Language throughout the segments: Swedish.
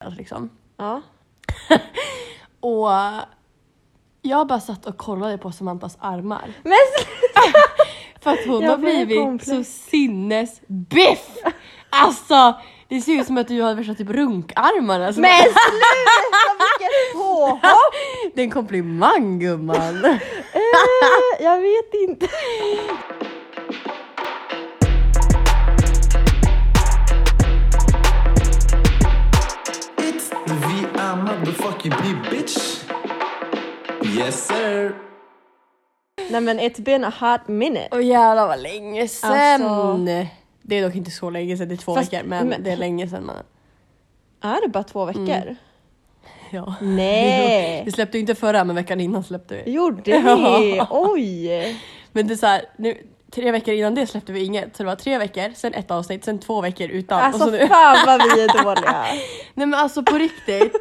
Snickers liksom. Ja. Och jag bara satt och kollade på Samantas armar. Men För att hon Jag har blir blivit komplex. så sinnesbiff! Alltså det ser ut som att du har värsta typ runkarmarna. Alltså, Men sluta vilket påhopp! Det är en komplimang gumman! Eh, jag vet inte. It's the VR motherfucking B, bitch. Yes, sir. Nej men it's been a hot minute. Och jävlar vad länge sen! Alltså- Det är dock inte så länge sen, det är två Fast- veckor men, men- det är länge sen mannen. Är det bara två veckor? Mm. Ja. Nej. Vi släppte ju inte förra men veckan innan släppte vi. Gjorde ni? Ja. Oj! Men det är så här, nu, tre veckor innan det släppte vi inget så det var tre veckor, sen ett avsnitt, sen två veckor utan. Alltså och så nu. fan vad vi är dåliga. Nej men alltså på riktigt.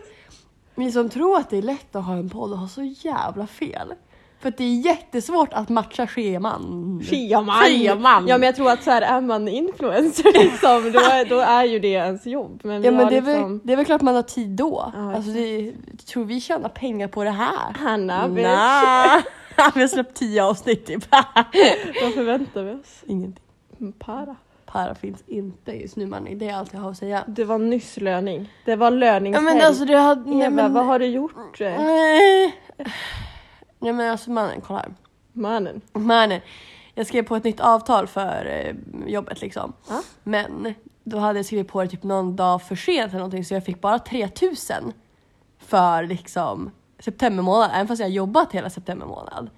Ni som tror att det är lätt att ha en podd har så jävla fel. För att det är jättesvårt att matcha scheman. Scheman! Scheman. Ja men jag tror att så här, är man influencer liksom, då, är, då är ju det ens jobb. Men, vi Ja men har det är, väl, liksom... det är väl klart man har tid då. Ja, alltså det, tror vi tjänar pengar på det här? Hanna, bitch. Nja, Vi har släppt tio avsnitt typ. Vad förväntar vi oss? Ingenting. Para. Para finns inte just nu man. det är allt jag har att säga. Det var nyss löning. Det var löningshelg. Ja men alltså det hade... Eva, Nej, men, vad har du gjort? eh, Nej. Nej men alltså mannen, kolla här. Mannen. Men jag skrev på ett nytt avtal för eh, jobbet liksom. Ja. Men då hade jag skrivit på det typ någon dag för sent eller någonting så jag fick bara 3000 för liksom september månad, även fast jag jobbat hela september månad.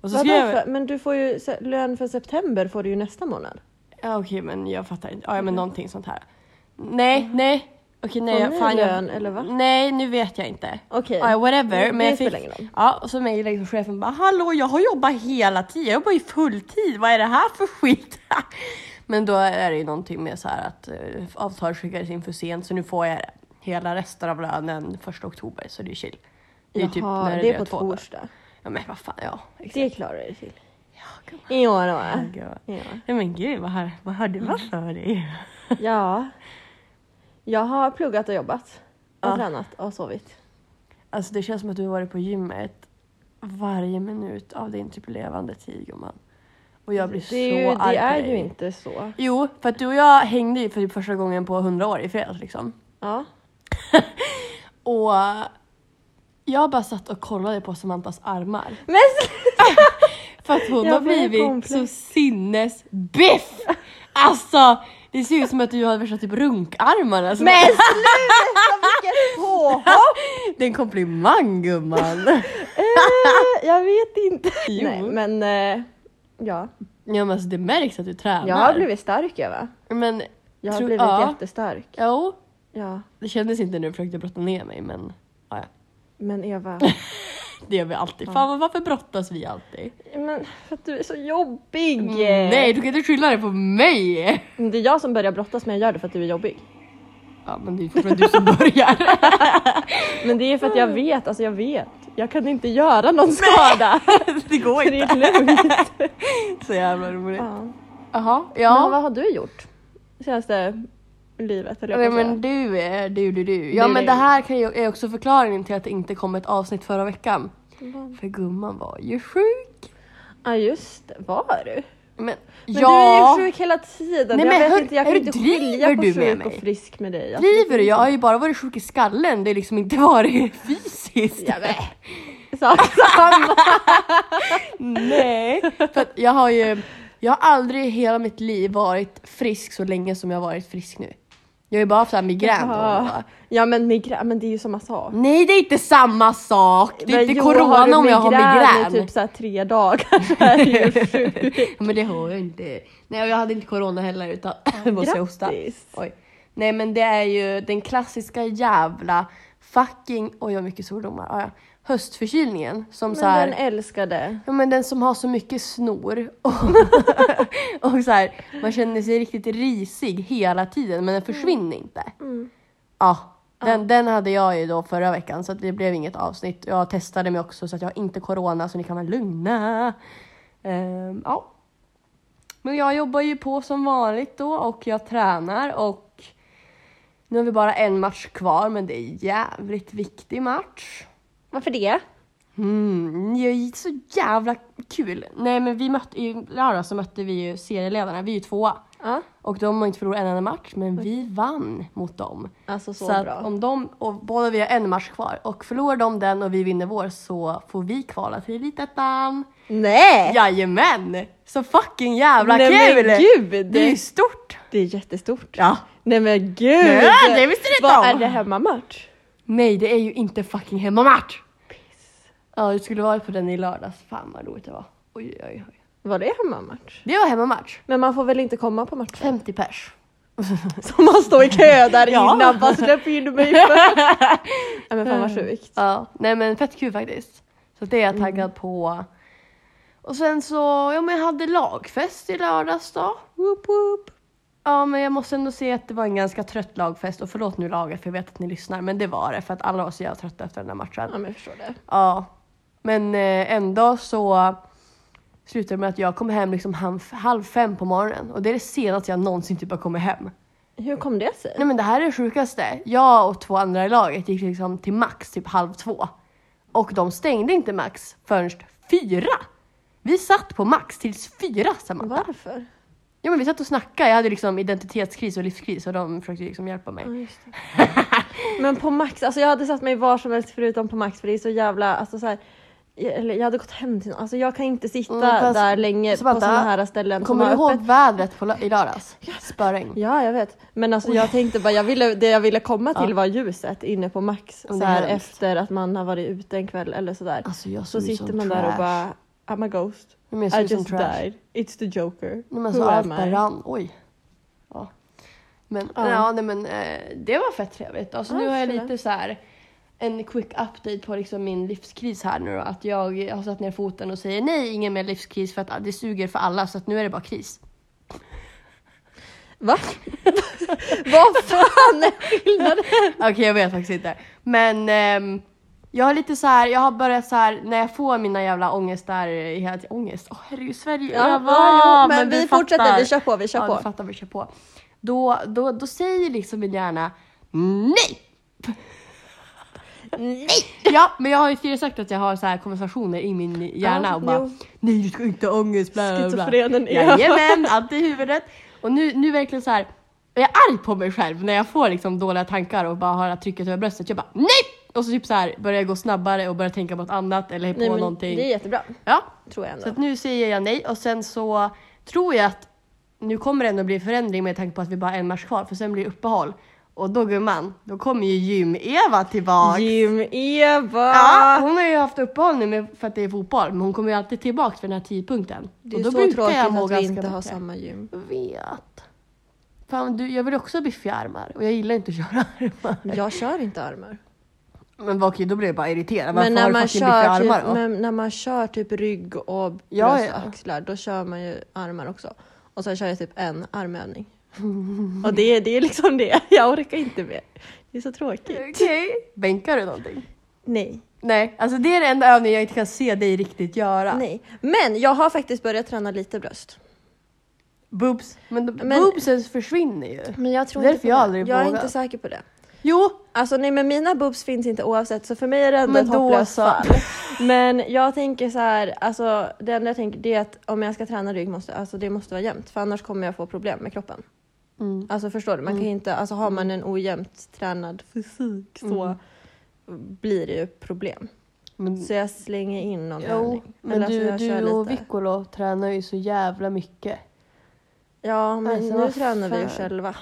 Och så Vadå skrev jag... för, men du får ju se- lön för september får du ju nästa månad. Ja, okej men jag fattar inte. Ja, ja, men någonting sånt här. Nej, nej. Okej, nej. Mm. Får jag- ni fan, lön, jag, eller va? Nej, nu vet jag inte. Okej. Ja, whatever. Det- men det jag spelar fick, ingen roll. ja, och så mejlade liksom chefen bara hallå jag har jobbat hela tiden, jag jobbar ju fulltid, vad är det här för skit? men då är det ju någonting med så här att uh, avtalet skickades in för sent så nu får jag hela resten av lönen första oktober så det är chill. Det är typ Jaha, när det är på två dagar. torsdag. Ja men vad fan, ja. Exakt. Det klarar du till. Ja, då. Ja. Ja. Nej men gud, vad har, vad har du haft Mm. för dig? ja. Jag har pluggat och jobbat. Och Ja. tränat och sovit. Alltså det känns som att du har varit på gymmet varje minut av din typ levande tid gumman. Och jag blir Det så är, ju, arg det på är dig. ju inte så. Jo, för att du och jag hängde ju för typ första gången på 100 år i fredags liksom. Ja. Och jag bara satt och kollade på Samantas armar. Men För att hon Jag har blir blivit komplex. så sinnesbiff! Alltså det ser ut som att du har värsta typ runkarmarna. Alltså, Men sluta vilket påhopp! Det är en komplimang gumman! Eh, Jag vet inte. Jo. Nej men eh, ja. ja men alltså det märks att du tränar. Jag har blivit stark Eva. Men Jag har Tror- blivit ja. jättestark. jo, Ja. Det kändes inte när du försökte brotta ner mig men ja, ja. Men Eva. det gör vi alltid. Fan vad- varför brottas vi alltid? Men för att du är så jobbig! Nej du kan inte skylla det på mig! Men Mm, Det är jag som börjar brottas men jag gör det för att du är jobbig. Ja men det är fortfarande du som börjar. Men det är för att jag vet, alltså jag vet. Jag kan inte göra någon skada. det går Det är inte. lugnt. Så jävla roligt. Ja. Jaha, Men ja. vad har du gjort? Senaste livet eller Nej jag på att men du är du du du. Ja Du, men du. det här kan ju, är också förklaringen till att det inte kom ett avsnitt förra veckan. säga. För gumman var ju sjuk. Ja just det, var du? Men, Men ja. du är ju sjuk hela tiden. Nej, jag men vet hör- inte, jag hör kan du, inte driver skilja på du med sjuk och mig? frisk med dig. Alltså, Driver du? Jag har ju bara varit sjuk i skallen, det har liksom inte varit fysiskt. Ja, men. Så, samma. Nej, för att jag har ju jag har aldrig i hela mitt liv varit frisk så länge som jag har varit frisk nu. Jag har ju bara haft så här migrän. då och då. Ja. ja men migrän, men det är ju samma sak. Nej det är inte samma sak! Det är Men inte jo, har du corona om jag har migrän. i typ såhär tre dagar så är det ju sjukt. Ja, men det har jag inte. Nej och jag hade inte corona heller utan måste jag hosta. Grattis. Oj. Nej men det är ju den klassiska jävla fucking, oj jag har mycket svordomar, ja, ja. höstförkylningen som så Men här, den älskade. Ja men den som har så mycket snor och, och så här, man känner sig riktigt risig hela tiden men den försvinner inte. Ja, den, den hade jag ju då förra veckan så att det blev inget avsnitt. Jag testade mig också så att jag har inte corona så ni kan vara lugna. Ehm, ja. Men jag jobbar ju på som vanligt då och jag tränar och Nu har vi bara en match kvar, men det är en jävligt viktig match. Varför det? Mm, det är så jävla kul. Nej, men vi mötte, i lördag så mötte vi ju serieledarna, vi är ju tvåa. Ja. Och de har inte förlorat en enda match, men vi vann mot dem. Alltså så, att bra. om de, och båda vi har en match kvar, och förlorar de den och vi vinner vår så får vi kvala till Elitettan. Nej! Jajamän! Så fucking jävla Äh. Nej, kul! men gud! Det är ju stort! Det är jättestort. Ja. Nej men gud! Nej, det visste du inte Vad om. är det hemmamatch? Nej, det är ju inte fucking hemmamatch! Ja, det skulle varit på den i lördags. Fan vad roligt det var. Oj, oj, oj. Var det hemmamatch? Det var hemmamatch. Men man får väl inte komma på matcher? 50 pers. Så man står i kö där Ja. Mm. innan, bara släpp in mig först. Nej men fan vad sjukt. Ja, nej men fett kul faktiskt. Så det är jag taggad på. Mm. Och sen så, ja men jag hade lagfest i lördags då. Woop, woop. Ja men jag måste ändå säga att det var en ganska trött lagfest och förlåt nu laget för jag vet att ni lyssnar men det var det för att alla var så jävla trötta efter den här matchen. Ja men jag förstår det. Ja. Men eh, ändå så slutade det med att jag kom hem liksom halv, halv fem på morgonen och det är det senaste jag någonsin typ har kommit hem. Hur kom det sig? Nej men det här är det sjukaste. Jag och två andra i laget gick liksom till max typ halv två. Och de stängde inte max förrän fyra. Vi satt på max tills fyra Samantha. Varför? Ja men vi satt och snackade. Jag hade liksom identitetskris och livskris och de försökte liksom hjälpa mig. Ja, just det. Men på Max, alltså jag hade satt mig var som helst förutom på Max för det är så jävla, alltså så här, eller jag hade gått hem till någon, alltså jag kan inte sitta Mm, fast- där länge Samantha, på sådana här ställen Kommer du som har ihåg öppet. vädret på lö- i lördags? Spöregn. Ja jag vet, men alltså jag tänkte bara, jag ville, det jag ville komma till Ja. var ljuset inne på Max Men det så är här hemskt. efter att man har varit ute en kväll eller sådär. Alltså jag Så såg ut sitter som man trash. där och bara I'm a ghost. Nej, men jag I såg ut som just trash. died. It's the joker. Nej, men Who så allt am bara I? rann. Oj. Ja. Men, ja. Ja. nej, men eh, det var fett trevligt. Alltså, Ja, nu har jag jag förstår lite så här en quick update på liksom min livskris här nu då. Att jag har satt ner foten och säger nej, ingen mer livskris för att ah, det suger för alla så att nu är det bara kris. Va? Vad fan är skillnaden? Okej, jag vet faktiskt inte. Men ehm, jag har lite så här, jag har börjat så här när jag får mina jävla ångestar, eh, hela tiden, ångest, åh herregud Sverige Ja, över. ja, men du vi fortsätter, vi kör på, vi kör ja, på. Du fattar, vi kör på. Då, då, då säger liksom min hjärna nej! Nej! Ja, men jag har ju tidigare sagt att jag har så här konversationer i min hjärna Ja, och bara jo. nej du ska inte ha ångest, bla bla bla. Schizofrenen är- Jajamän, allt i huvudet. Och nu, nu verkligen så här, jag är arg på mig själv när jag får liksom dåliga tankar och bara har det här trycket över bröstet. Jag bara nej! Och så typ så här börjar jag gå snabbare och börjar tänka på något annat eller på Nej, men någonting. Det är jättebra, Ja, tror jag ändå. så att nu säger jag nej och sen så tror jag att nu kommer det ändå bli förändring med tanke på att vi bara har en match kvar för sen blir det uppehåll. Och då gumman, då kommer ju gym-Eva tillbaka. Jim Eva! Ja, hon har ju haft uppehåll nu med, för att det är fotboll, men hon kommer ju alltid tillbaka till den här tidpunkten. Det Och är då så brukar tråkigt jag må att vi ganska inte har bättre. samma gym. Jag vet. Fan, du, jag vill också ha biffiga armar och jag gillar inte att köra armar. Jag kör inte armar. Men vad okej, då blir jag bara irriterad. Varför men, har när du man fucking biffiga kör armar typ, då? men när man kör typ rygg och bröst Ja, ja. och axlar, då kör man ju armar också. Och sen kör jag typ en armövning. och det, är- det är liksom det, jag orkar inte mer. Det är så tråkigt. Okej. Bänkar du någonting? Nej. Nej, alltså det är den enda övningen jag inte kan se dig riktigt göra. Nej. Men jag har faktiskt börjat träna lite bröst. Boobs. Men, de- Men- boobsen försvinner ju. Men jag tror Därför inte på jag det. aldrig Jag är vågat. inte säker på det. Jo, Alltså nej men mina boobs finns inte oavsett så för mig är det ändå Men ett då hopplöst så. fall. Men jag tänker så här, alltså det enda jag tänker det är att om jag ska träna rygg måste alltså, det måste vara jämnt för annars kommer jag få problem med kroppen. Mm. Alltså förstår du, man kan ju inte, alltså har man en ojämnt tränad fysik så blir det ju problem. men, Så jag slänger in någon jo, övning. men Eller, alltså, du, jag kör du lite. och Viccolo tränar ju så jävla mycket. Ja men Alltså, nu vad tränar vi ju fan. själva.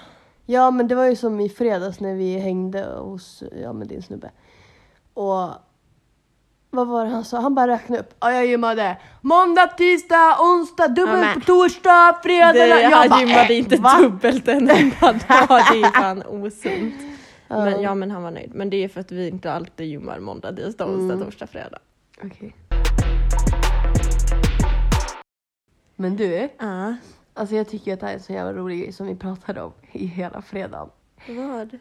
Ja men det var ju som i fredags när vi hängde hos ja, med din snubbe. Och vad var det han sa? Han bara räknade upp. Ja jag gymmade måndag, tisdag, onsdag, dubbelt Ja, men- på torsdag, fredag. Det, lördag." jag bara, gymmade "Äh, inte va?" dubbelt en enda dag, det är fan osunt. Ja. Men, ja men han var nöjd. Men det är för att vi inte alltid gymmar måndag, tisdag, onsdag, torsdag, fredag. Okej. Men du, Ah, alltså jag tycker att det här är en så jävla rolig grej som vi pratade om i hela fredagen. vad?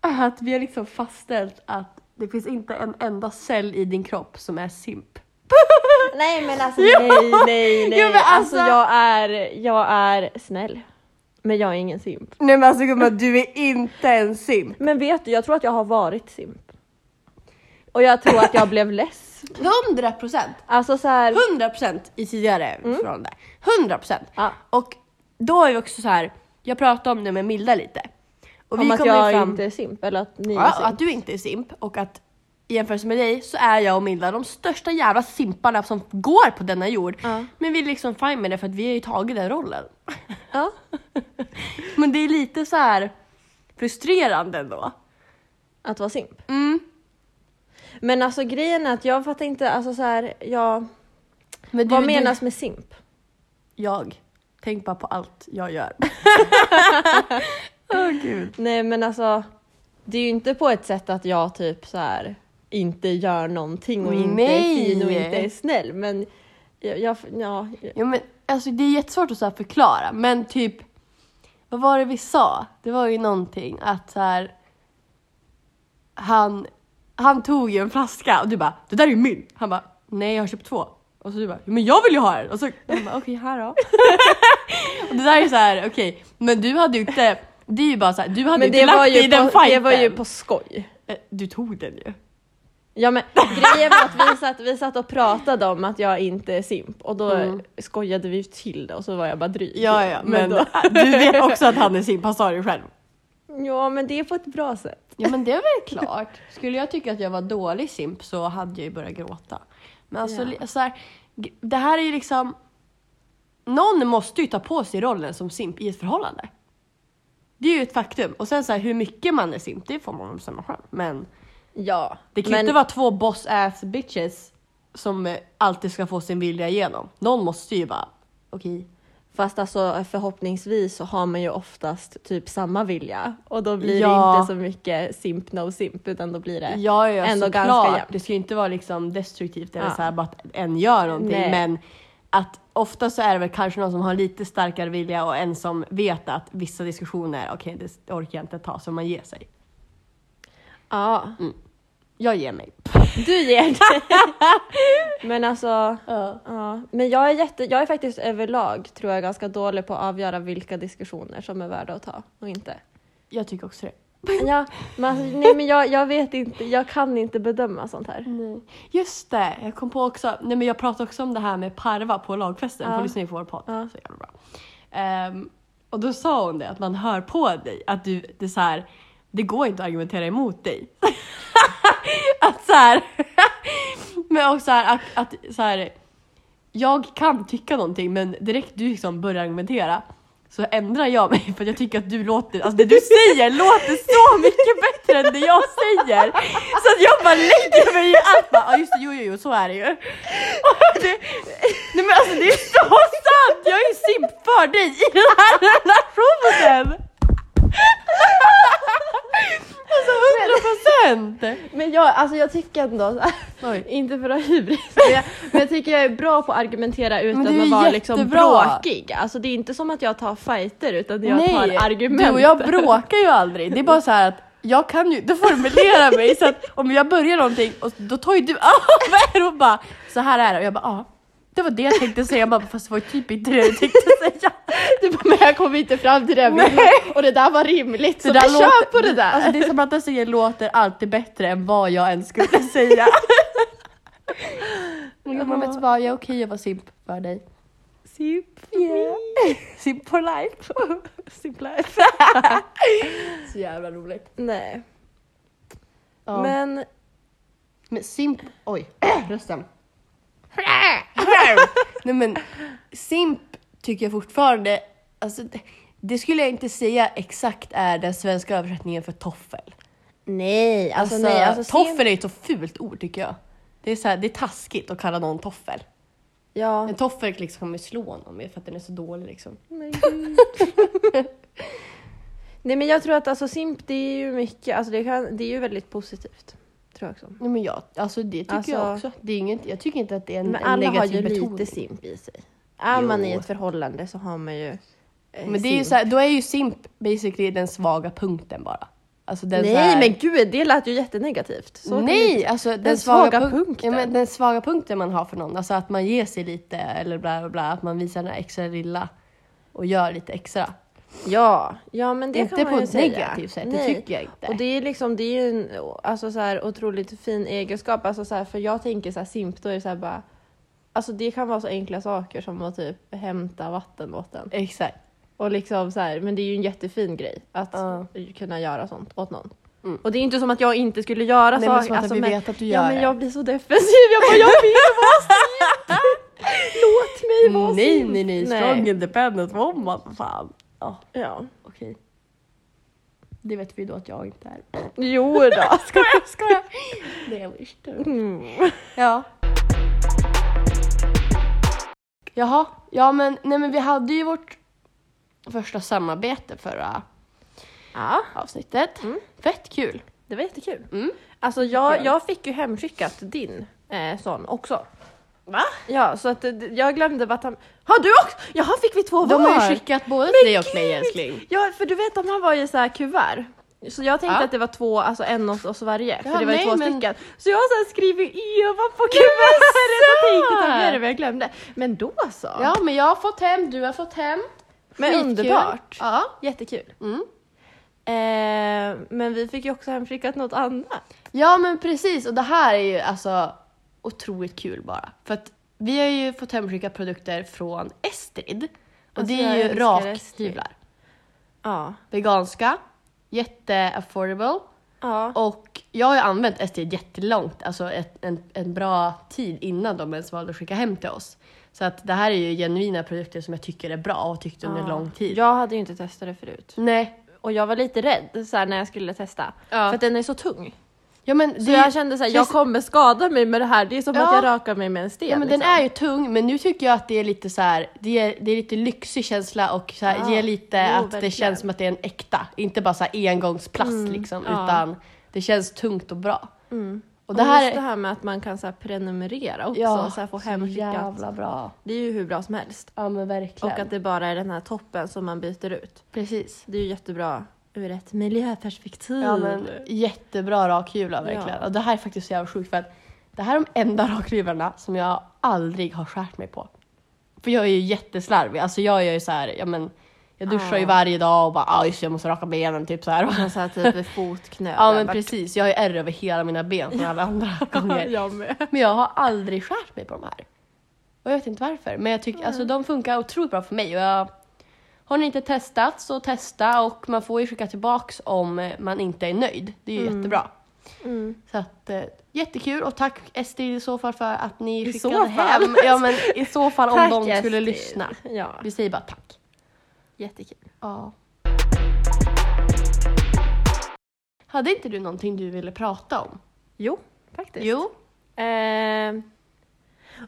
Att vi har liksom fastställt att det finns inte en enda cell i din kropp som är simp. Nej men alltså Jo! nej nej nej. Jo, men alltså, alltså- jag, är, jag är snäll. Men jag är ingen simp. Nej men alltså gumman, du är inte en simp. Men vet du, jag tror att jag har varit simp. Och jag tror att jag blev less. 100 procent. Alltså så här, 100 procent i tidigare förhållande. 100 procent. Ja. Och då är vi också så här. jag pratade om det med Milda lite. Och om vi att kommer jag ju fram Ah, inte är simp eller att ni är ja, simp. att du inte är simp och att i jämförelse med dig så är jag och Milda de största jävla simparna som går på denna jord. Ja. Men vi är liksom fine med det för att vi har ju tagit den rollen. Ja. Men det är lite så här frustrerande ändå. Att vara simp. Mm. Men alltså grejen är att jag fattar inte, alltså så här, jag, Men vad menas med simp? Jag. Tänk bara på allt jag gör. Åh gud. Nej men alltså, det är ju inte på ett sätt att jag typ så här inte gör någonting och inte Nej. är fin och inte är snäll men jag, jag ja, Ja, men, alltså, det är jättesvårt att så här förklara, men typ... Vad var det vi sa? Det var ju någonting att så här, han, han tog ju en flaska och du bara “det där är ju min”. Han bara “nej, jag har köpt två”. Och så du bara “men jag vill ju ha den”. Och så han bara “okej, här då”. och det där är så här, okej, men du hade ju inte... Det är ju bara så här, du hade men ju det inte var, lagt dig i ju den på, fighten. det var ju på skoj. Eh, Du tog den ju. Ja men grejen var att vi satt, vi satt och pratade om att jag inte är simp och då Mm. skojade vi till det och så var jag bara dryg. Ja, ja, men, då, du vet också att han är simpassare själv. ja men det är på ett bra sätt. Ja, men det är väl klart. Skulle jag tycka att jag var dålig simp så hade jag ju börjat gråta. Men alltså, Ja. li- så här, g- det här är ju liksom... Någon måste ju ta på sig rollen som simp i ett förhållande. Det är ju ett faktum. Och sen så här, hur mycket man är simp, det får man väl bestämma själv. Men Ja. det kan ju men, inte vara två boss-ass bitches som eh, alltid ska få sin vilja igenom. Någon måste ju bara, okej. Fast alltså förhoppningsvis så har man ju oftast typ samma vilja och då blir Ja. det inte så mycket simp no simp utan då blir det Ja, ja ändå såklart. ganska jämnt. Det ska ju inte vara liksom destruktivt eller Ja. så här, bara att en gör någonting. Nej. Men att ofta så är det väl kanske någon som har lite starkare vilja och en som vet att vissa diskussioner, okej det orkar jag inte ta, så man ger sig. Ja, Jag ger mig. du ger dig. Men alltså, ja. Men jag är, jätte, jag är faktiskt överlag tror jag ganska dålig på att avgöra vilka diskussioner som är värda att ta och inte. Jag tycker också det. Ja, men alltså, nej men jag, jag vet inte, jag kan inte bedöma sånt här. Just det, jag kom på också, nej men jag pratade också om det här med Parva på lagfesten, Ja. för lyssnar ju på vår podd. Ja. Så jävla bra. Ehm, och då sa hon det, att man hör på dig, att du, det är så här, det går inte att argumentera emot dig. att så här, men också så här, att, att så här, jag kan tycka någonting men direkt du liksom börjar argumentera så ändrar jag mig för att jag tycker att du låter, alltså det du säger låter så mycket bättre än det jag säger. Så att jag bara lägger mig i allt bara, ja just det, jo jo jo så är det ju. Och det, nej men alltså det är så sant, jag är ju simp för dig i den här relationen! Alltså 100 procent! Men jag, alltså jag tycker ändå, Oj. inte för att ha hybris, men jag, men jag tycker jag är bra på att argumentera Men utan du är att vara liksom jättebra. bråkig. Alltså det är inte som att jag tar fighter utan jag tar argument. Du och jag bråkar ju aldrig. Det är bara så här att jag kan ju inte formulera mig så att om jag börjar någonting och då tar ju du över och bara så här är det och jag bara ja. Det var det jag tänkte säga, jag bara, fast det var ju typ inte det jag tänkte säga. Du bara, men jag kom inte fram till det jag ville och det där var rimligt så där jag låter- kör på det där. Alltså det som Bratta säger låter alltid bättre än vad jag ens skulle säga. Och Man vet bara, jag är okej att vara simp för dig. Simp. Yeah. Simp for life. simp life. så jävla roligt. Nej, Ja. men Men simp... Oj, rösten. Nej men simp tycker jag fortfarande... Alltså, det- det skulle jag inte säga exakt är den svenska översättningen för toffel. nej, alltså, Alltså, nej. Alltså, toffel simp- är ju ett så fult ord tycker jag. Det är, så här, det är taskigt att kalla någon toffel. Ja. En toffel liksom kommer slå någon för att den är så dålig liksom. Nej men jag tror att alltså simp det är ju mycket, alltså det, kan, det är ju väldigt positivt. Tror jag också. Nej men jag, alltså det tycker Alltså- jag också. Det är inget, jag tycker inte att det är en, Men en alla har negativ ju betoning. lite simp i sig. Är Jo. man i ett förhållande så har man ju eh, Men det är ju simp. så här, då är ju simp basically den svaga punkten bara. Alltså den så Nej här, men gud, det lät ju jättenegativt. Så kan det Nej, inte- alltså den, Den svaga, svaga punk- punkten. Ja, men den svaga punkten man har för någon, alltså att man ger sig lite eller bla bla bla, att man visar den här extra lilla och gör lite extra. Ja, ja men det inte kan på man ju ett säga. negativt sätt, det Nej. tycker jag inte. Och det är, liksom, det är ju en alltså, så här, otroligt fin egenskap. Alltså, så här, för jag tänker så här, simp, då är det så här bara... Alltså det kan vara så enkla saker som att typ hämta vatten åt en. Exakt. Och liksom så här, men det är ju en jättefin grej att Ja. kunna göra sånt åt någon. Mm. Och det är inte som att jag inte skulle göra Nej, men saker. alltså, som att vi men- vet att du Ja gör men det. jag blir så defensiv. Jag bara, jag vill vara simp! Låt mig vara Nej, simp! nej, nej. Strong independent woman. Fan. Ja, Ja. okej. Det vet vi då att jag inte är. Jo då. Skojar, skojar. Det är värst. Mm. Ja. Jaha, ja men, nej, men vi hade ju vårt första samarbete förra Ja. avsnittet. Mm. Fett kul. Det var jättekul. Mm. Alltså jag, jag fick ju hemskickat din eh, sån också. Va? Ja, så att eh, jag glömde bara att han... Har du också? Jaha, fick vi två var? De har ju skickat både till dig och mig älskling. Ja, för du vet de här var ju så här kuvert. Så jag tänkte Ja. att det var två, alltså en åt oss varje. Ja, för det var ju nej, två men- stycken. Så jag har så här skrivit Eva på kuvertet och tänkte ta med det men jag glömde. Men då så. Ja men jag har fått hem, du har fått hem. men Skitkul. underbart. Ja. Jättekul. Mm. Eh, men vi fick ju också hemskickat något annat. Ja men precis och det här är ju alltså otroligt kul bara. För att vi har ju fått hemskicka produkter från Estrid. Och Alltså, det jag är ju älskar rakhyvlar. Ja. Veganska, jätte-affordable. Ja. Och jag har ju använt Estrid jättelångt, alltså ett, en, en bra tid innan de ens valde att skicka hem till oss. Så att det här är ju genuina produkter som jag tycker är bra och har tyckt under Ja. lång tid. Jag hade ju inte testat det förut. Nej. Och jag var lite rädd så här, när jag skulle testa. Ja. För att den är så tung. Ja, men Så det- jag kände så här, jag känns- kommer skada mig med det här. Det är som Ja. att jag rakar mig med en sten. Ja, men den liksom. är ju tung, men nu tycker jag att det är lite så här, det är, det är lite lyxig känsla och så här, Ja, ger lite jo, att det verkligen. Mm, känns som att det är en äkta. Inte bara så här engångsplast liksom, ja. Mm. utan det känns tungt och bra. Och Och det här just det är... här med att man kan så här, prenumerera också. Ja, så här, få så hemskickat. jävla bra. Det är ju hur bra som helst. Ja men verkligen. Och att det bara är den här toppen som man byter ut. Precis. Det är ju jättebra ur ett miljöperspektiv. Ja men jättebra rakhyvlar verkligen. Ja. Och det här är faktiskt så jävla sjukt för att det här är de enda rakhyvlarna som jag aldrig har skärt mig på. För jag är ju jätteslarvig, alltså jag gör ju så här, ja men jag duschar Ja. ju varje dag och bara ah, just det, jag måste raka benen typ så här. Och så här, typ ett fotknöl. Ja men Bara- precis, jag har ju ärr över hela mina ben från alla andra gånger. jag med. Men jag har aldrig skärt mig på de här. Och jag vet inte varför, men jag tycker Mm. alltså de funkar otroligt bra för mig. Och jag, har ni inte testat så testa och man får ju skicka tillbaks om eh, man inte är nöjd. Det är ju jättebra. Mm. Så att, eh, jättekul och tack Estrid i så fall för att ni I skickade så fall. hem. Ja men i så fall om Tack, de skulle Estrid. lyssna. Ja, Vi säger bara tack. jättekul. Ja. Hade inte du någonting du ville prata om? Jo, faktiskt. Jo. Eh,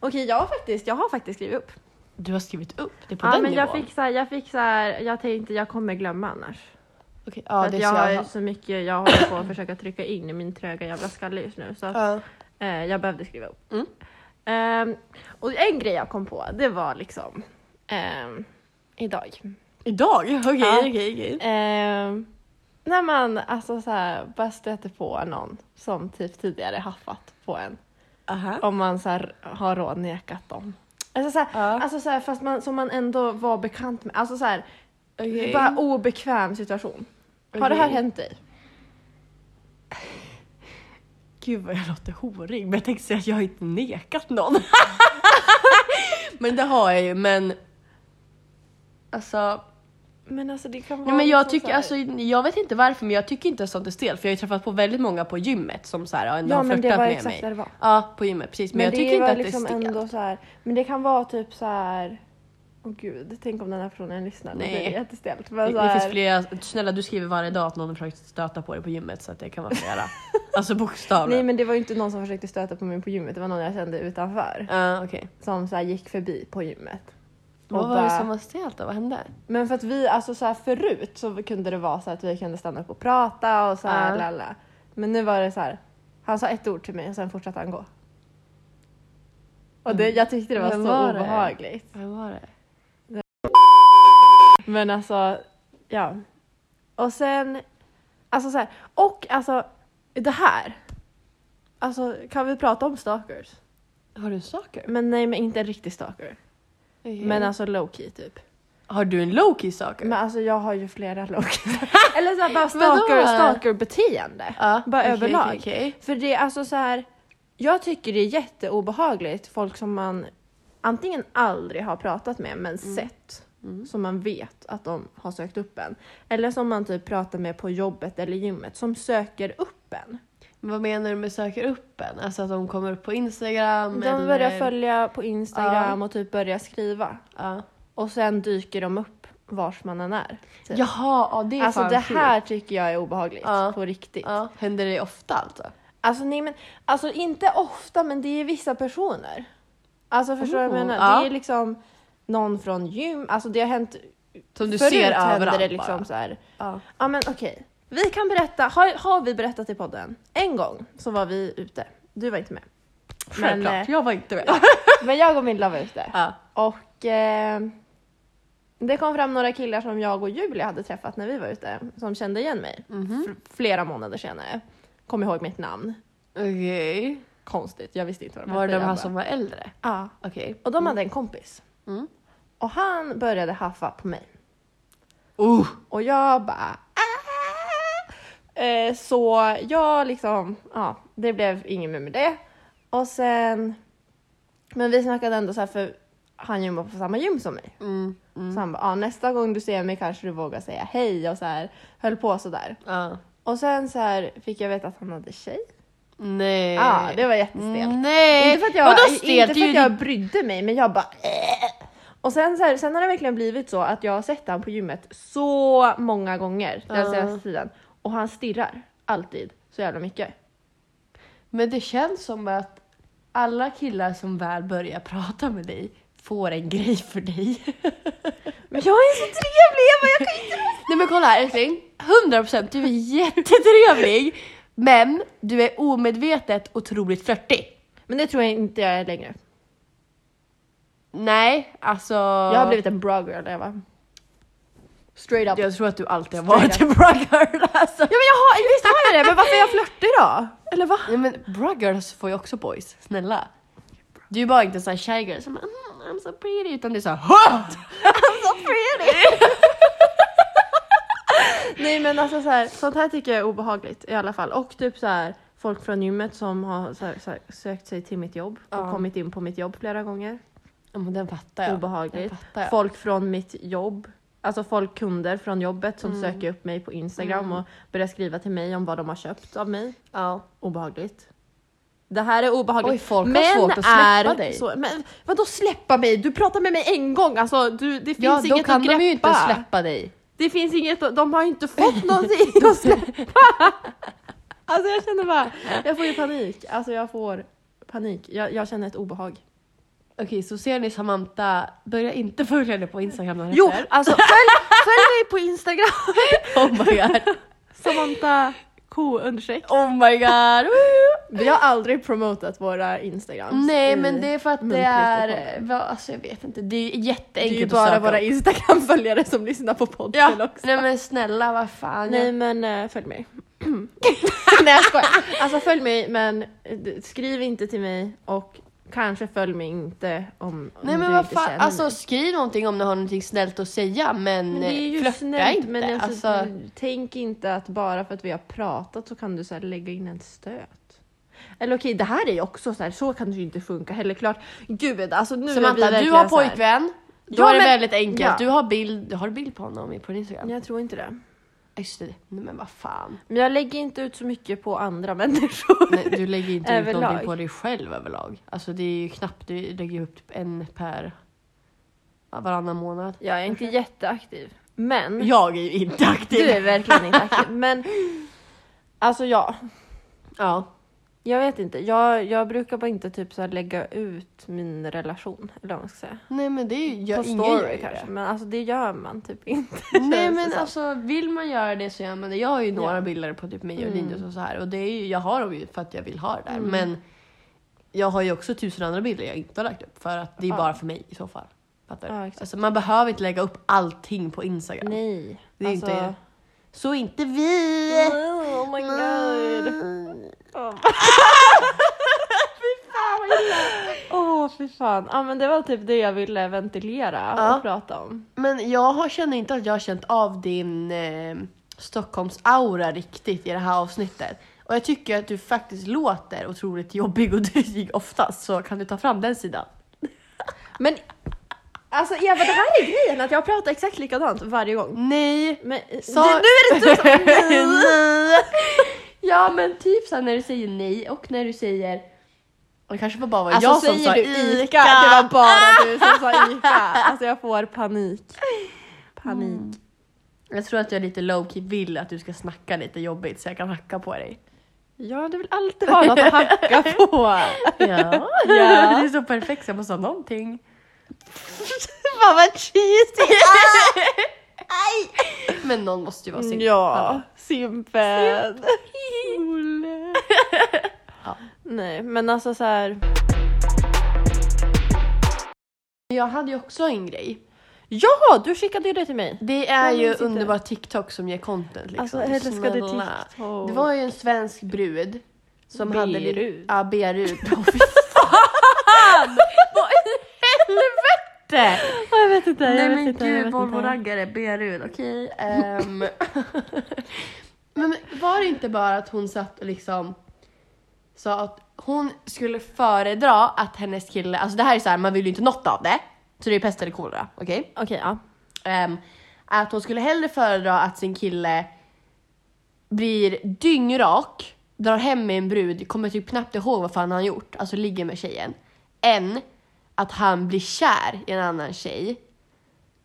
Okej, jag, har faktiskt, jag har faktiskt skrivit upp. Du har skrivit upp det på Ja, den men jag nivån? fick, så här, jag fick så här, jag tänkte jag kommer glömma annars. Okej, ja, för det är att jag så har jag ju så mycket jag håller på att försöka trycka in i min tröga jävla skalle just nu. Så att, Ja. eh, jag behövde skriva upp. Mm. Ehm, och en grej jag kom på, det var liksom ehm, idag. Idag? Okej, Ja. okej, okej. Ehm, när man alltså så här, bara stöter på någon som typ tidigare haffat på en. Aha. Om man så här, har rådnekat dem. Alltså så här, Ja. alltså så här, fast man, som man ändå var bekant med. Alltså så här, Okej. bara obekväm situation. Har det Okej. här hänt dig? Gud vad jag låter horig, men jag tänkte säga att jag har inte nekat någon. men det har jag ju, men... Alltså, Men alltså det kan vara... nej, men jag, liksom så tycker, här- alltså, jag vet inte varför, men jag tycker inte sånt är stelt. För jag har ju träffat på väldigt många på gymmet som så här, ja, ändå Ja har men flörtat det var med exakt mig. det det var. Ja, på gymmet, precis. Men, jag det tycker inte var att det liksom är stelt. ändå så här, Men det kan vara typ så här. Åh gud, tänk om den här personen lyssnar. Nej. Nej. Det är jättestelt. Det, Men så det finns här- flera, snälla du skriver varje dag att någon har försökt stöta på dig på gymmet så att det kan vara flera. alltså bokstavligen. Nej men det var ju inte någon som försökte stöta på mig på gymmet. Det var någon jag kände utanför. Ja, okej. Som så här gick förbi på gymmet. Vad Och var det bara- som var stelt då? Vad hände? Men för att vi, alltså så här förut så kunde det vara så att vi kunde stanna upp och prata och så här Ja. lalla. Men nu var det så här. Han sa ett ord till mig och sen fortsatte han gå. Och det, jag tyckte det var Mm. Vem så var det? obehagligt. Vad var det? Men alltså, ja. Och sen, alltså så här, och alltså det här. Alltså kan vi prata om stalkers? Har du en stalker? Men nej, men inte en riktig stalker. Okej. Men alltså low key typ. Har du en low-key stalker? Men alltså jag har ju flera loggningar. Eller så här, bara stalker, Vadå? stalkerbeteende. Ja, bara okej, överlag. okej, okej. För det är alltså så här. Jag tycker det är jätteobehagligt folk som man antingen aldrig har pratat med men Mm. sett. Som man vet att de har sökt upp en. Eller som man typ pratar med på jobbet eller gymmet som söker upp en. Men Vad menar du med söker upp en? Alltså att de kommer upp på Instagram? De börjar eller... följa på Instagram och typ börjar skriva. Ja. Och sen dyker de upp vars man än är. Typ. Jaha, ja, det är Alltså fan det sjukt. här tycker jag är obehagligt Ja. på riktigt. Ja. Händer det ofta alltså? Alltså, nej, men, alltså inte ofta men det är vissa personer. Alltså förstår du vad jag Oh, menar? ja. Det är liksom någon från gym, alltså det har hänt. Som du förut ser hände överallt det liksom bara. så här. Ja. Ja men okej. Vi kan berätta, har, har vi berättat i podden? En gång så var vi ute, du var inte med. Men, Självklart, eh, jag var inte med. men jag och Milla var ute. ja. Och eh, det kom fram några killar som jag och Julia hade träffat när vi var ute som kände igen mig Mhm. F- flera månader senare. Kom ihåg mitt namn. Okej. Konstigt, jag visste inte vad de Var det de jag här bara- som var äldre? Ja. Okej. Och de hade en kompis. Mm. Och han började haffa på mig. Oh! Och jag bara... "Ah!" Eh, så jag liksom... Ja, det blev inget mer med det. Och sen... Men vi snackade ändå så här för han gymmar på samma gym som mig. Mm. Mm. Så han bara, ah, nästa gång du ser mig kanske du vågar säga hej och så här höll på så där. Ja. Och sen så här fick jag veta att han hade tjej. Nej. Ja, det var jättestelt. Nej! Inte för att jag, Vadå inte stelt? för att jag brydde mig, men jag bara... "Äh." Och sen, så här, sen har det verkligen blivit så att jag har sett han på gymmet så många gånger den Ja. senaste tiden. Och han stirrar alltid så jävla mycket. Men det känns som att alla killar som väl börjar prata med dig får en grej för dig. Men jag är så trevlig! Jag bara, jag kan inte... Nej men kolla här älskling, 100% du är jättetrevlig men du är omedvetet otroligt flörtig. Men det tror jag inte jag är längre. Nej, alltså... Jag har blivit en bra girl, Eva. Straight up. Jag tror att du alltid har varit en bra girl alltså. Ja men jag har, visst har jag det, men varför är jag flörtig då? Eller va? Nej men bra girls får ju också boys, snälla. Du är bara inte en sån här shy girl som bara, mm, I'm so pretty utan du är såhär HÖT! Nej men alltså så här, sånt här tycker jag är obehagligt i alla fall. Och typ så här, folk från gymmet som har så här, så här, sökt sig till mitt jobb och Ja. kommit in på mitt jobb flera gånger. Ja men den fattar jag. den obehagligt. fattar jag. Folk från mitt jobb, alltså folk, kunder från jobbet Mm. som söker upp mig på Instagram och börjar skriva till mig om vad de har köpt av mig. Ja. Obehagligt. Det här är obehagligt. Oj, folk har svårt att släppa är dig. Så, men vadå släppa mig? Du pratar med mig en gång, alltså du, det finns Ja då inget kan att greppa. de ju inte släppa dig. Det finns inget, de har ju inte fått någonting att släppa. Alltså jag känner bara, jag får ju panik. Alltså jag får panik. Jag, jag känner ett obehag. Okej, så ser ni Samantha, börja inte följa henne på Instagram dagen Jo, efter. alltså följ, följ mig på Instagram. Oh my god! Samantha K understreck. Oh my god! Woo! Vi har aldrig promotat våra Instagrams. Nej i- men det är för att det muntligt är, reklam. vad- alltså jag vet inte, det är det är jätteenkelt ju att söka bara våra upp. Instagram-följare som lyssnar på podden Ja, också. nej men snälla vad fan. Nej men eh, följ mig. Nej jag skojar. Alltså följ mig men eh, d- skriv inte till mig och kanske följ mig inte om, om Nej du men vad inte fan, känner alltså mig. skriv någonting om ni har någonting snällt att säga men, Men det är ju flörta snällt inte. men alltså, alltså, tänk inte att bara för att vi har pratat så kan du så här lägga in en stöt. Eller okej, det här är ju också så här, så kan det ju inte funka heller klart. Gud, alltså nu är Samantha vi du verkligen har så här- pojkvän, då Ja, är det men- väldigt enkelt. ja. Du har bild, har du bild på honom på din Instagram? Jag tror inte det. Ja. Just det, nej men vad fan. Men jag lägger inte ut så mycket på andra människor. Nej, du lägger inte ut Överlag. någonting på dig själv överlag. Alltså det är ju knappt, du lägger upp typ en per ja, varannan månad. Jag är inte jätteaktiv. Men Jag är ju inte aktiv. Du är verkligen inte aktiv. Men alltså ja, Ja. jag vet inte. Jag, jag brukar bara inte typ så här lägga ut min relation. Eller vad man ska säga. Nej men det är ju, På jag, ingen gör story ju kanske. det. Men alltså det gör man typ inte. Nej känns det men som. alltså vill man göra det så gör man det. Jag har ju några Ja. bilder på typ mig och Mm. Linus och så här och det är ju, jag har dem ju för att jag vill ha det där men jag har ju också tusen andra bilder jag inte har lagt upp för att det är Ja. bara för mig i så fall. Fattar du? Ja, exakt. alltså, man behöver inte lägga upp allting på Instagram. Nej. Det är ju alltså, inte, så inte vi! Oh, oh my god. Mm. Åh oh, fy fan. Ja men det var typ det jag ville ventilera Ja. och prata om. Men jag har- känner inte att jag har känt av din eh, Stockholms-aura riktigt i det här avsnittet. Och jag tycker att du faktiskt låter otroligt jobbig och dryg oftast, så kan du ta fram den sidan? Men alltså Eva, det här är grejen att jag pratar exakt likadant varje gång. Nej! Men Sa- du, nu är det du som... Nej. Ja men typ såhär när du säger nej och när du säger... Och det kanske var bara var Alltså jag som säger sa du ICA. Ica, det var bara du som sa Ica. Alltså jag får panik. Panik. Jag tror att jag lite lowkey vill att du ska snacka lite jobbigt så jag kan hacka på dig. Ja, du vill alltid ha något att hacka på. Ja, Ja. det är så perfekt så jag måste ha någonting. Fan vad cheesy! Men någon måste ju vara sin. Mm, Ja, Simpen. Olle. Nej, men alltså så här. Jag hade ju också en grej. Ja, du skickade ju det till mig. Det är Jag ju minns inte. underbara TikTok som ger content liksom. Alltså, jag älskade Snälla. TikTok. Det var ju en svensk brud som hade... Berut. Ja, Berut. Åh fy fan! Vad i helvete! Ja, jag vet inte, jag Nej vet men inte, jag gud, vet inte. Volvo-raggare, Berut, okej. ehm. men var det inte bara att hon satt och liksom sa att hon skulle föredra att hennes kille, alltså det här är så här, man vill ju inte något av det. Så det är pest eller kolera, okej? Okej, ja. Ehm, att hon skulle hellre föredra att sin kille blir dyngrak, drar hem med en brud, kommer typ knappt ihåg vad fan han gjort, alltså ligger med tjejen, än att han blir kär i en annan tjej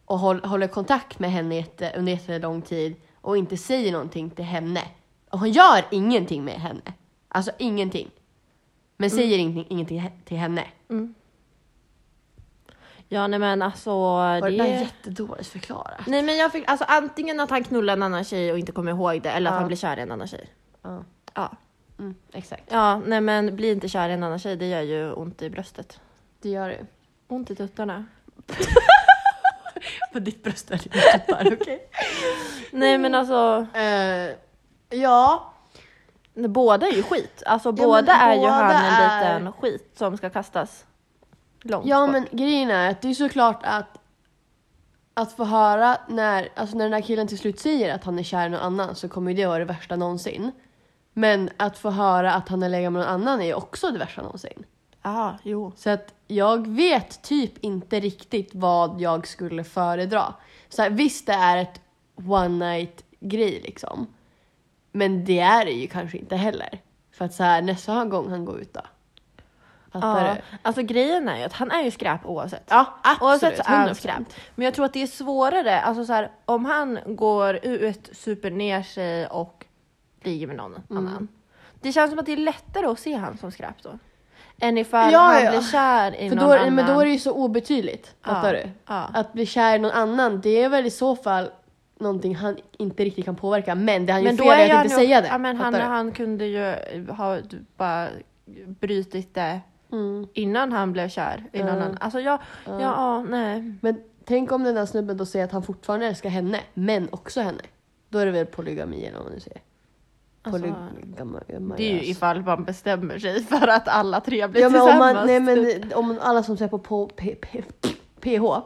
och håll, håller kontakt med henne jätte, under jättelång tid och inte säger någonting till henne. Och hon gör ingenting med henne. Alltså ingenting. Men säger ingenting, ingenting he- till henne. Ja, nej men alltså. Var det Det... där jättedåligt förklarat? Nej men jag fick, alltså antingen att han knullar en annan tjej och inte kommer ihåg det eller att Ja. han blir kär i en annan tjej. Ja. Ja. Mm, exakt. ja, nej men bli inte kär i en annan tjej, det gör ju ont i bröstet. Det gör du. Ont i tuttarna. På ditt bröst är det tuttar, okej? Nej men alltså, Eh, ja. båda är ju skit. Alltså men båda är ju båda han en är- liten skit som ska kastas långt Ja bort. men grejen är att det är såklart att att få höra när, alltså när den här killen till slut säger att han är kär i någon annan så kommer ju det vara det värsta någonsin. Men att få höra att han är legat med någon annan är ju också det värsta någonsin. Ja, jo. Så att jag vet typ inte riktigt vad jag skulle föredra. Så här, visst det är ett one night grej liksom. Men det är det ju kanske inte heller. För att så här, nästa gång han går ut då. Fattar Ja. du? Alltså grejen är ju att han är ju skräp oavsett. Ja, Oavsett absolut. så är han 100%. skräp. Men jag tror att det är svårare, alltså så här, om han går ut, super ner sig och ligger med någon Mm. annan. Det känns som att det är lättare att se han som skräp då. Än ifall Ja, han ja. blir kär i För någon då, annan. men då är det ju så obetydligt. Fattar du? ja. Att bli kär i någon annan, det är väl i så fall någonting han inte riktigt kan påverka. Men det han gör men fel då är är att han inte ju- säga det. Ja, men han, Fattar du? han kunde ju ha bara brutit det Mm. innan han blev kär i någon Mm. annan. Alltså jag, ja, ja, nej. Men tänk om den där snubben då säger att han fortfarande älskar henne, men också henne. Då är det väl polygami eller vad man nu säger. Alltså, Polygami. Det är ju ifall man bestämmer sig för att alla tre blir ja, men om, tillsammans. typ. man, nej, men, om alla som ser på, på p, p, PH, ja.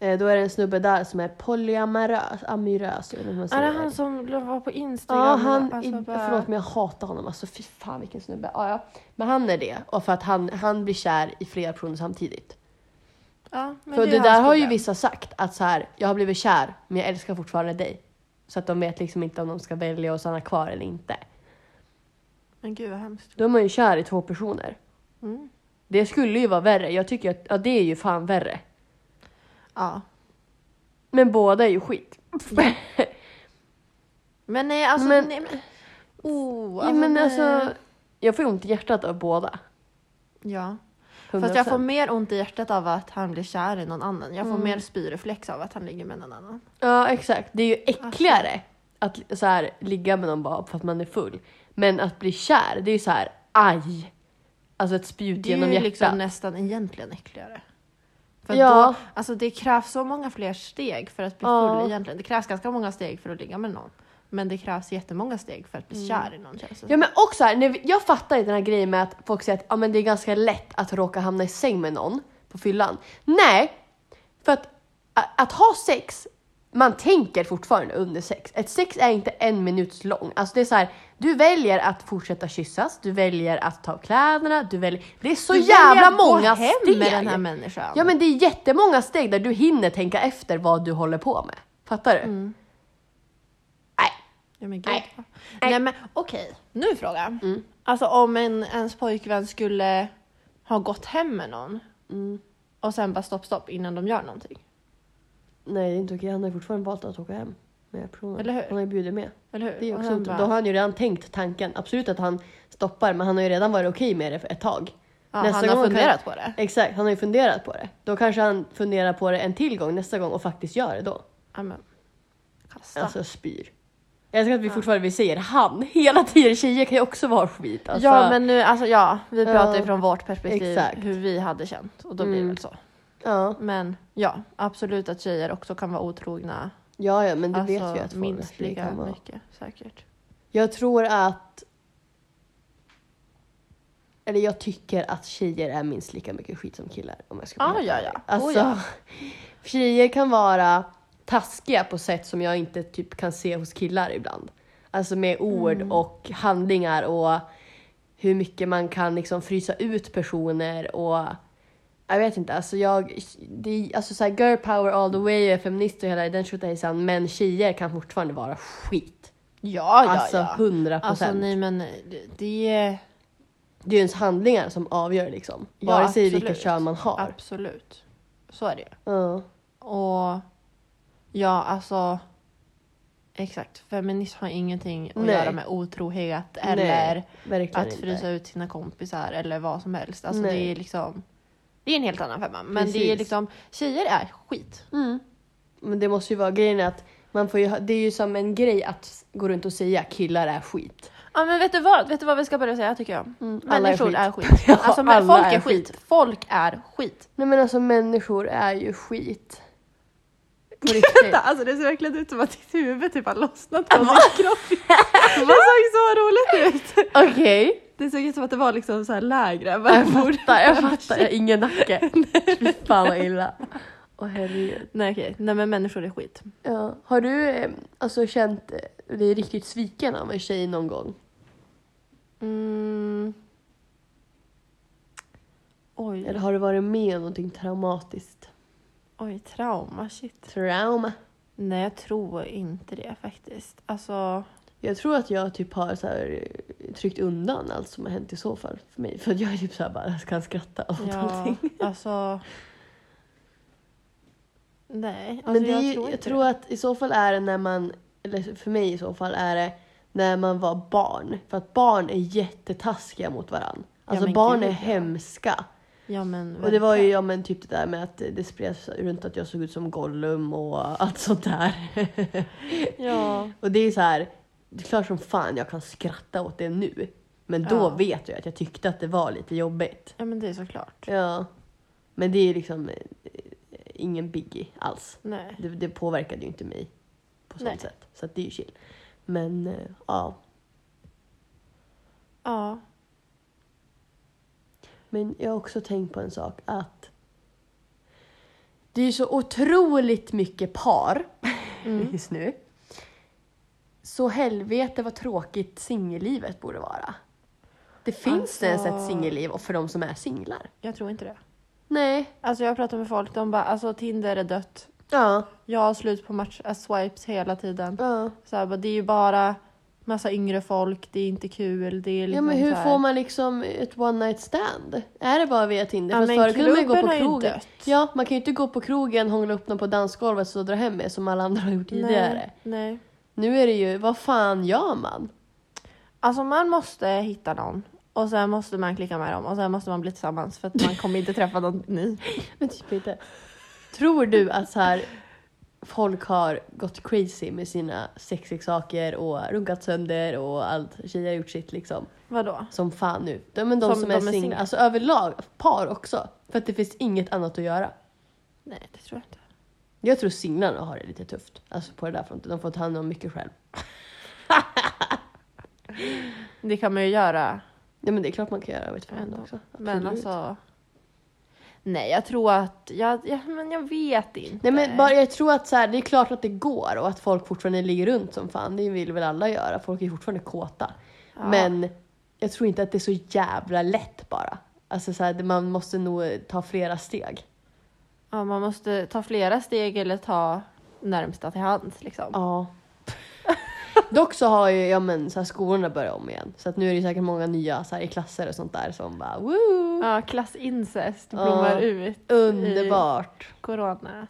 eh, då är det en snubbe där som är polyamorös. Amorös, eller vad man Är säger. det han som var på Instagram? Ja, han, Alltså, i, bara- förlåt men jag hatar honom. Alltså fy fan vilken snubbe. Ja, ja. Men han är det. Och för att han, han blir kär i flera personer samtidigt. Ja, men för är det, där hans har ju problem. vissa sagt att så här, jag har blivit kär men jag älskar fortfarande dig. Så att de vet liksom inte om de ska välja att stanna kvar eller inte. Men gud vad hemskt. Då är man ju kär i två personer. Mm. Det skulle ju vara värre. Jag tycker att ja, det är ju fan värre. Ja. Men båda är ju skit. Men nej, alltså... Men- nej, men... Oh, ja, men nej. alltså, jag får ju ont i hjärtat av båda. Ja. 100%. Fast jag får mer ont i hjärtat av att han blir kär i någon annan. Jag får mer spyreflex av att han ligger med någon annan. Ja, exakt. Mm. Det är Ah, ju äckligare att så här, ligga med någon bara för att man är full. Men att bli kär, det är ju så här aj. Alltså ett spjut Det är genom ju hjärtat. liksom nästan egentligen äckligare. För Ja. då, alltså det krävs så många fler steg för att bli Ja. full egentligen. Det krävs ganska många steg för att ligga med någon. Men det krävs jättemånga steg för att bli kär i någon känns det Mm. Ja men också här, när vi, jag fattar inte den här grejen med att folk säger att ja men det är ganska lätt att råka hamna i säng med någon på fyllan. Nej! För att, a- att ha sex, man tänker fortfarande under sex. Ett sex är inte en minut lång. Alltså det är så här, du väljer att fortsätta kyssas, du väljer att ta av kläderna, du väljer... Det är så Du väljer jävla att gå många hem steg! med den här människan. Ja men det är jättemånga steg där du hinner tänka efter vad du håller på med. Fattar du? Mm. Nej. Ja, men gud. Nej. Nej. Nej. Mm. men okej, nu är frågan. Alltså om en, ens pojkvän skulle ha gått hem med någon Mm. och sen bara stopp, stopp innan de gör någonting. Nej, det är inte okej. Han har ju fortfarande valt att åka hem med personen. Eller hur? Han har ju bjudit med. Eller hur? Det är Och också sen otroligt. bara- Då har han ju redan tänkt tanken. Absolut att han stoppar, men han har ju redan varit okej med det för ett tag. Ja, han har gång funderat kan... på det. Exakt, han har ju funderat på det. Då kanske han funderar på det en till gång nästa gång och faktiskt gör det då. Ja, men. Kasta. Alltså spyr. Jag älskar att vi fortfarande vi säger han hela tiden. Tjejer kan ju också vara skit. Alltså, ja men nu, alltså ja, vi pratar ju Ja, från vårt perspektiv exakt. Mm. hur vi hade känt och då blir det väl så. ja. Men ja, absolut att tjejer också kan vara otrogna. ja, ja, men det alltså, vet vi att folk minst blir- lika kan vara. mycket säkert. Jag tror att... Eller jag tycker att tjejer är minst lika mycket skit som killar. Om jag ska vara Ja, helt ja, ärlig. ja. Alltså, Oh, ja. Tjejer kan vara taskiga på sätt som jag inte typ kan se hos killar ibland. Alltså med ord Mm. och handlingar och hur mycket man kan liksom frysa ut personer och jag vet inte, alltså jag, det, är- alltså så här, girl power all the way, jag är feminist och hela den tjotahejsan men tjejer kan fortfarande vara skit. Ja, ja, Alltså ja. 100 procent. Alltså nej men det, det är... Det är ju ens handlingar som avgör liksom. Vare sig vilka absolut. kön man har. Absolut. Så är det ju. Ja. Och ja, alltså. Exakt. Feminism har ingenting att Nej. göra med otrohet Nej, eller verkligen att inte. frysa ut sina kompisar eller vad som helst. Alltså Nej. det är liksom. Det är en helt annan femma. Men det är Precis. Mm. liksom, tjejer är skit. Men det måste ju vara grejen är att man får ju, ha- det är ju som en grej att gå runt och säga killar är skit. Ja men vet du vad? Vet du vad vi ska börja säga tycker jag? Mm. alla är Människor skit. är skit. Alltså men alla folk är är skit. Folk är skit. Nej men alltså människor är ju skit. På riktigt. alltså det ser verkligen ut som att ditt huvud typ har lossnat på mikrofonen. Det såg så roligt ut. Okej. Det såg ut som att det var liksom så här lägre. Jag fattar, jag fattar. Jag har ingen nacke. Fy fan vad illa. Åh herregud. Nej okej, nej men människor är skit. Ja. Har du eh, alltså känt eh, dig riktigt sviken av en tjej någon gång? Mm. Eller Oj, har du varit med om någonting traumatiskt? oj, trauma, shit. Trauma. Nej jag tror inte det faktiskt. Alltså, Jag tror att jag typ har så här, eh, tryckt undan allt som har hänt i så fall för mig. För att jag är typ så här bara, jag kan skratta åt ja, allting. alltså. Nej, alltså Men det är ju, jag tror jag inte tror det. att i så fall är det när man, eller för mig i så fall är det när man var barn. För att barn är jättetaskiga mot varandra. Alltså men barn gud, är ja. hemska. Ja men Och det var ju verkligen. ja, men, typ det där med att det spreds runt att jag såg ut som Gollum och allt sånt där. Ja, Och det är så här, det är klart som fan jag kan skratta åt det nu. Men då Ja. vet jag att jag tyckte att det var lite jobbigt. ja men det är såklart. Ja. Men det är liksom eh, ingen biggie alls. Nej. Det, det påverkade ju inte mig på sånt Nej. sätt. Så att det är ju chill. Men eh, ja. Ja. Men jag har också tänkt på en sak att det är ju så otroligt mycket par just nu. Så helvete vad tråkigt singellivet borde vara. Det finns Alltså- ens ett singelliv och för de som är singlar. Jag tror inte det. Nej. Alltså jag pratar med folk, de bara alltså Tinder är dött. Ja. Jag har slut på match, äh, swipes hela tiden. ja. Så här, bara, det är ju bara massa yngre folk, det är inte kul. Det är Ja liksom men hur så här, får man liksom ett one night stand? Är det bara via Tinder? Ja, Fast men förut kunde man ju gå klubben på har ju krogen. dött. Ja, man kan ju inte gå på krogen, hångla upp någon på dansgolvet och dra hem med som alla andra har gjort tidigare. Nej, nej. Nu är det ju, vad fan gör man? Alltså man måste hitta någon. Och sen måste man klicka med dem och sen måste man bli tillsammans för att man kommer inte träffa någon ny. Men typ inte. Tror du att så här folk har gått crazy med sina sexleksaker och runkat sönder och allt, tjejer har gjort sitt liksom. Vadå? Som fan nu. De, men de som, Som är, de är singlar, singlar. alltså överlag, par också. För att det finns inget annat att göra. Nej det tror jag inte. Jag tror singlarna har det lite tufft. Alltså på det där fronten. De får ta hand om mycket själv. Det kan man ju göra Nej men det är klart man kan göra över ett förhållande också. Men Absolut. alltså... Nej, jag tror att... Jag, jag, men jag vet inte. Nej men bara, jag tror att så här, det är klart att det går och att folk fortfarande ligger runt som fan. Det vill väl alla göra. Folk är fortfarande kåta. Men jag tror inte att det är så jävla lätt bara. Alltså så här, det- man måste nog ta flera steg. Ja, man måste ta flera steg eller ta närmsta till hands. Liksom. Ja. Dock så har ju ja, men, så här, skolorna börjat om igen. Så att nu är det säkert många nya så här, i klasser och sånt där som bara woo! Ja, klassincest blommar Ja. ut Underbart! i coronatider.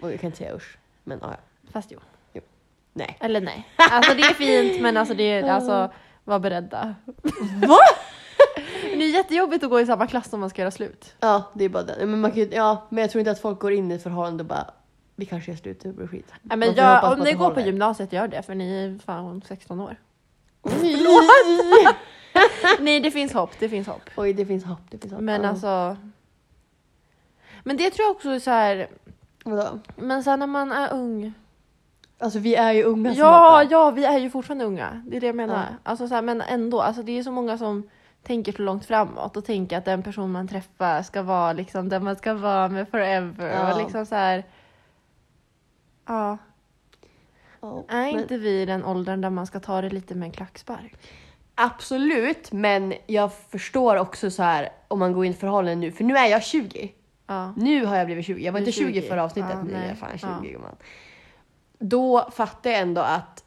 Och jag kan inte säga usch. Men ja, ja. Fast jo. nej. Eller nej. Alltså det är fint men alltså det är, alltså var beredda. Va? Det är jättejobbigt att gå i samma klass om man ska göra slut. Ja, det är bara den. Men, man kan, ju- ja, men jag tror inte att folk går in i ett förhållande och bara vi kanske gör slut, det blir skit. Nej, Man men får hoppas jag, om att ni det går på håller. gymnasiet, gör det för ni är fan 16 år. Förlåt! nej det finns hopp, det finns hopp. Oj, det finns hopp. Det finns hopp. Men Ja. alltså. Men det tror jag också är så här. Vadå? Men sen när man är ung. Alltså vi är ju unga som Ja, hoppar. ja, vi är ju fortfarande unga. Det är det jag menar. Ja. Alltså, så här, men ändå, alltså, det är så många som tänker så långt framåt och tänker att den person man träffar ska vara liksom, den man ska vara med forever. Ja. Och liksom så här, ja. Ja, Är men- inte vi i den åldern där man ska ta det lite med en klackspark? Absolut, men jag förstår också så här om man går in i ett förhållande nu. För nu är jag 20. Ja. Nu har jag blivit 20. Jag var Du är inte 20 i 20. förra avsnittet. Ja, men nu är nej. jag fan 20 Ja. gumman. Då fattar jag ändå att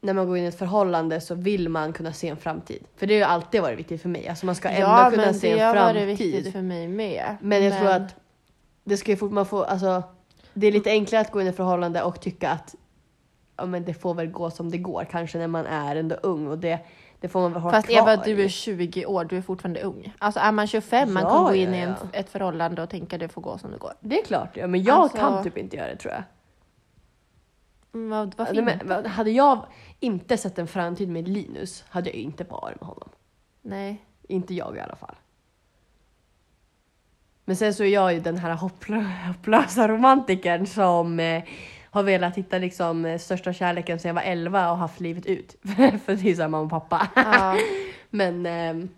när man går in i ett förhållande så vill man kunna se en framtid. För det har ju alltid varit viktigt för mig. Alltså man ska ändå ja, kunna men se det en har framtid. varit viktigt för mig med. Men jag tror att det ska ju fort man får, alltså, det är lite enklare att gå in i ett förhållande och tycka att ja, men det får väl gå som det går kanske när man är ändå ung och det, det får man väl ha Fast kvar. Eva, du är 20 år, du är fortfarande ung. Alltså är man 25, man Ja, kan gå ja, in i en, ja. ett förhållande och tänka det får gå som det går. Det är klart, ja, men jag Alltså- kan typ inte göra det tror jag. Mm, vad, vad Ja, fint. Men, men hade jag inte sett en framtid med Linus hade jag ju inte varit med honom. Nej. Inte jag i alla fall. Men sen så är jag ju den här hopplö- hopplösa romantikern som eh, har velat hitta liksom eh, största kärleken sedan jag var 11 och haft livet ut. För det är såhär mamma och pappa. Ja. Men ehm,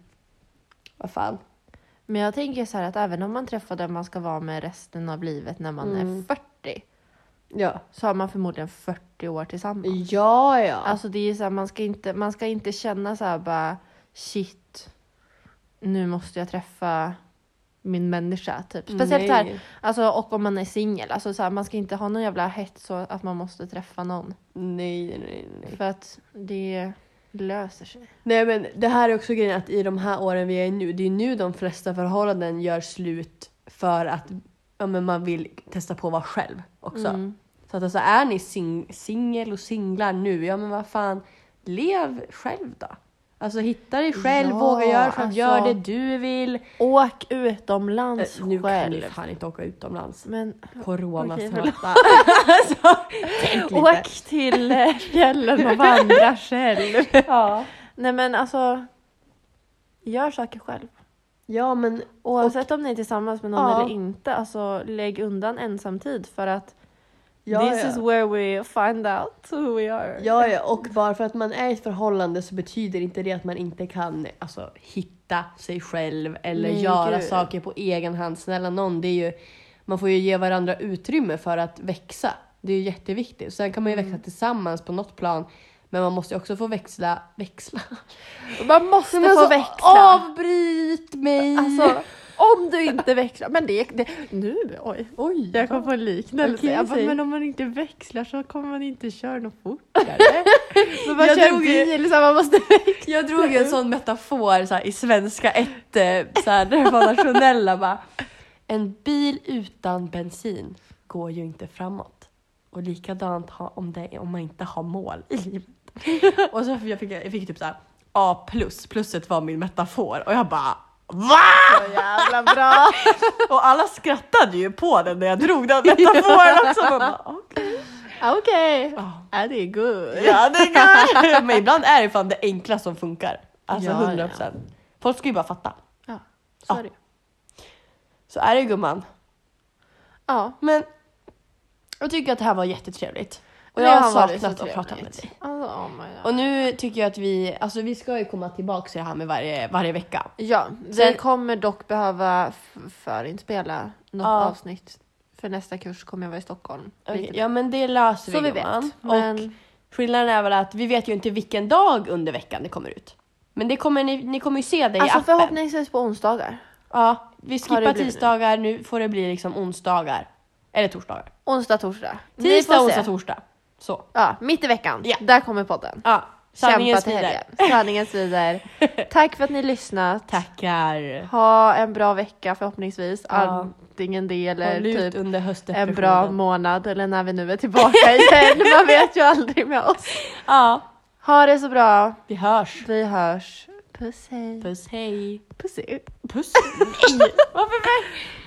vad fan. Men jag tänker så här att även om man träffar den man ska vara med resten av livet när man Mm. är 40 Ja, så har man förmodligen 40 år tillsammans. ja, ja. Alltså det är ju så här, man ska inte, man ska inte känna så här bara shit, nu måste jag träffa min människa typ. Speciellt Nej. här, alltså, och om man är singel, alltså så här, man ska inte ha någon jävla hets så att man måste träffa någon. nej, nej, nej, nej. För att det löser sig. Nej men det här är också grejen att i de här åren vi är i nu, det är nu de flesta förhållanden gör slut för att ja, men man vill testa på att vara själv också. Mm. Så att alltså är ni sing- singel och singlar nu, ja men vad fan, lev själv då. Alltså hitta dig själv, Ja, våga göra själv, alltså. gör det du vill. Åk Eh, utomlands nu kan ni själv. fan inte åka utomlands. Men Okej, Coronasmarta. förlåt. alltså, tänk lite. Åk till eh, fjällen och vandra själv. Ja. Nej men alltså, gör saker själv. ja men Oavsett om ni är tillsammans med någon Ja. eller inte, alltså lägg undan ensamtid för att ja, this ja. is where we find out who we are. Ja, ja, och bara för att man är i ett förhållande så betyder inte det att man inte kan alltså, hitta sig själv eller Nej, göra gud. saker på egen hand. Snälla någon, det är ju, man får ju ge varandra utrymme för att växa. Det är ju jätteviktigt. Sen kan man ju växa tillsammans på något plan, men man måste ju också få växla. Växla? Man måste Men få alltså, växla. Avbryt mig! Alltså, om du inte växlar, men det, det nu, oj. Oj! Jag kom på en liknelse. Okej, jag bara, säg. men om man inte växlar så kommer man inte köra något fortare. man bara Jag kör drog ju- bil så här, liksom, man måste Jag drog ju en sån metafor så här, i svenska 1, så här, när det var nationella bara. En bil utan bensin går ju inte framåt. Och likadant ha, om, det, om man inte har mål i livet. Och så fick jag, fick, jag fick typ så här A plus, plusset var min metafor och jag bara VA? Så jävla bra. Och alla skrattade ju på den när jag drog den metaforen också. Man bara, "Okej." Okej. Ja. Ja, det är good. Ja det går! Men ibland är det fan det enkla som funkar. Alltså Ja, ja. 100%. Folk ska ju bara fatta. Ja, så Ja. är det. Så är det ju, gumman. Ja. Men jag tycker att det här var jättetrevligt. Och Det jag har har varit saknat så att prata med trevligt. dig. Alltså, oh my God. Och nu tycker jag att vi, alltså vi ska ju komma tillbaka till det här med varje, varje vecka. Ja, vi Sen- kommer dock behöva f- förinspela något Ja. avsnitt. För nästa kurs kommer jag vara i Stockholm. Okej, Lite- Ja men det löser Så vi vi gumman. vet. Men Och skillnaden är väl att vi vet ju inte vilken dag under veckan det kommer ut. Men det kommer ni, ni kommer ju se det i alltså appen. förhoppningsvis på onsdagar. Ja, vi Har det skippar blivit nu? tisdagar, nu får det bli liksom onsdagar. Eller torsdagar. Onsdag, torsdag. Vi får Tisdag, se. onsdag, torsdag. Så. Ja, mitt i veckan. Ja. Där kommer podden. Ja, sanningen Kämpa till smider. helgen. Sanningen svider. Tack för att ni lyssnat. Tackar. Ha en bra vecka förhoppningsvis. Ja. Antingen det eller Håll ut typ under en höstdepressionen. bra månad eller när vi nu är tillbaka igen. Man vet ju aldrig med oss. Ja, Ha det så bra. vi hörs. Vi hörs. Puss hej. Puss, hej. Puss. Puss? Nej! Varför?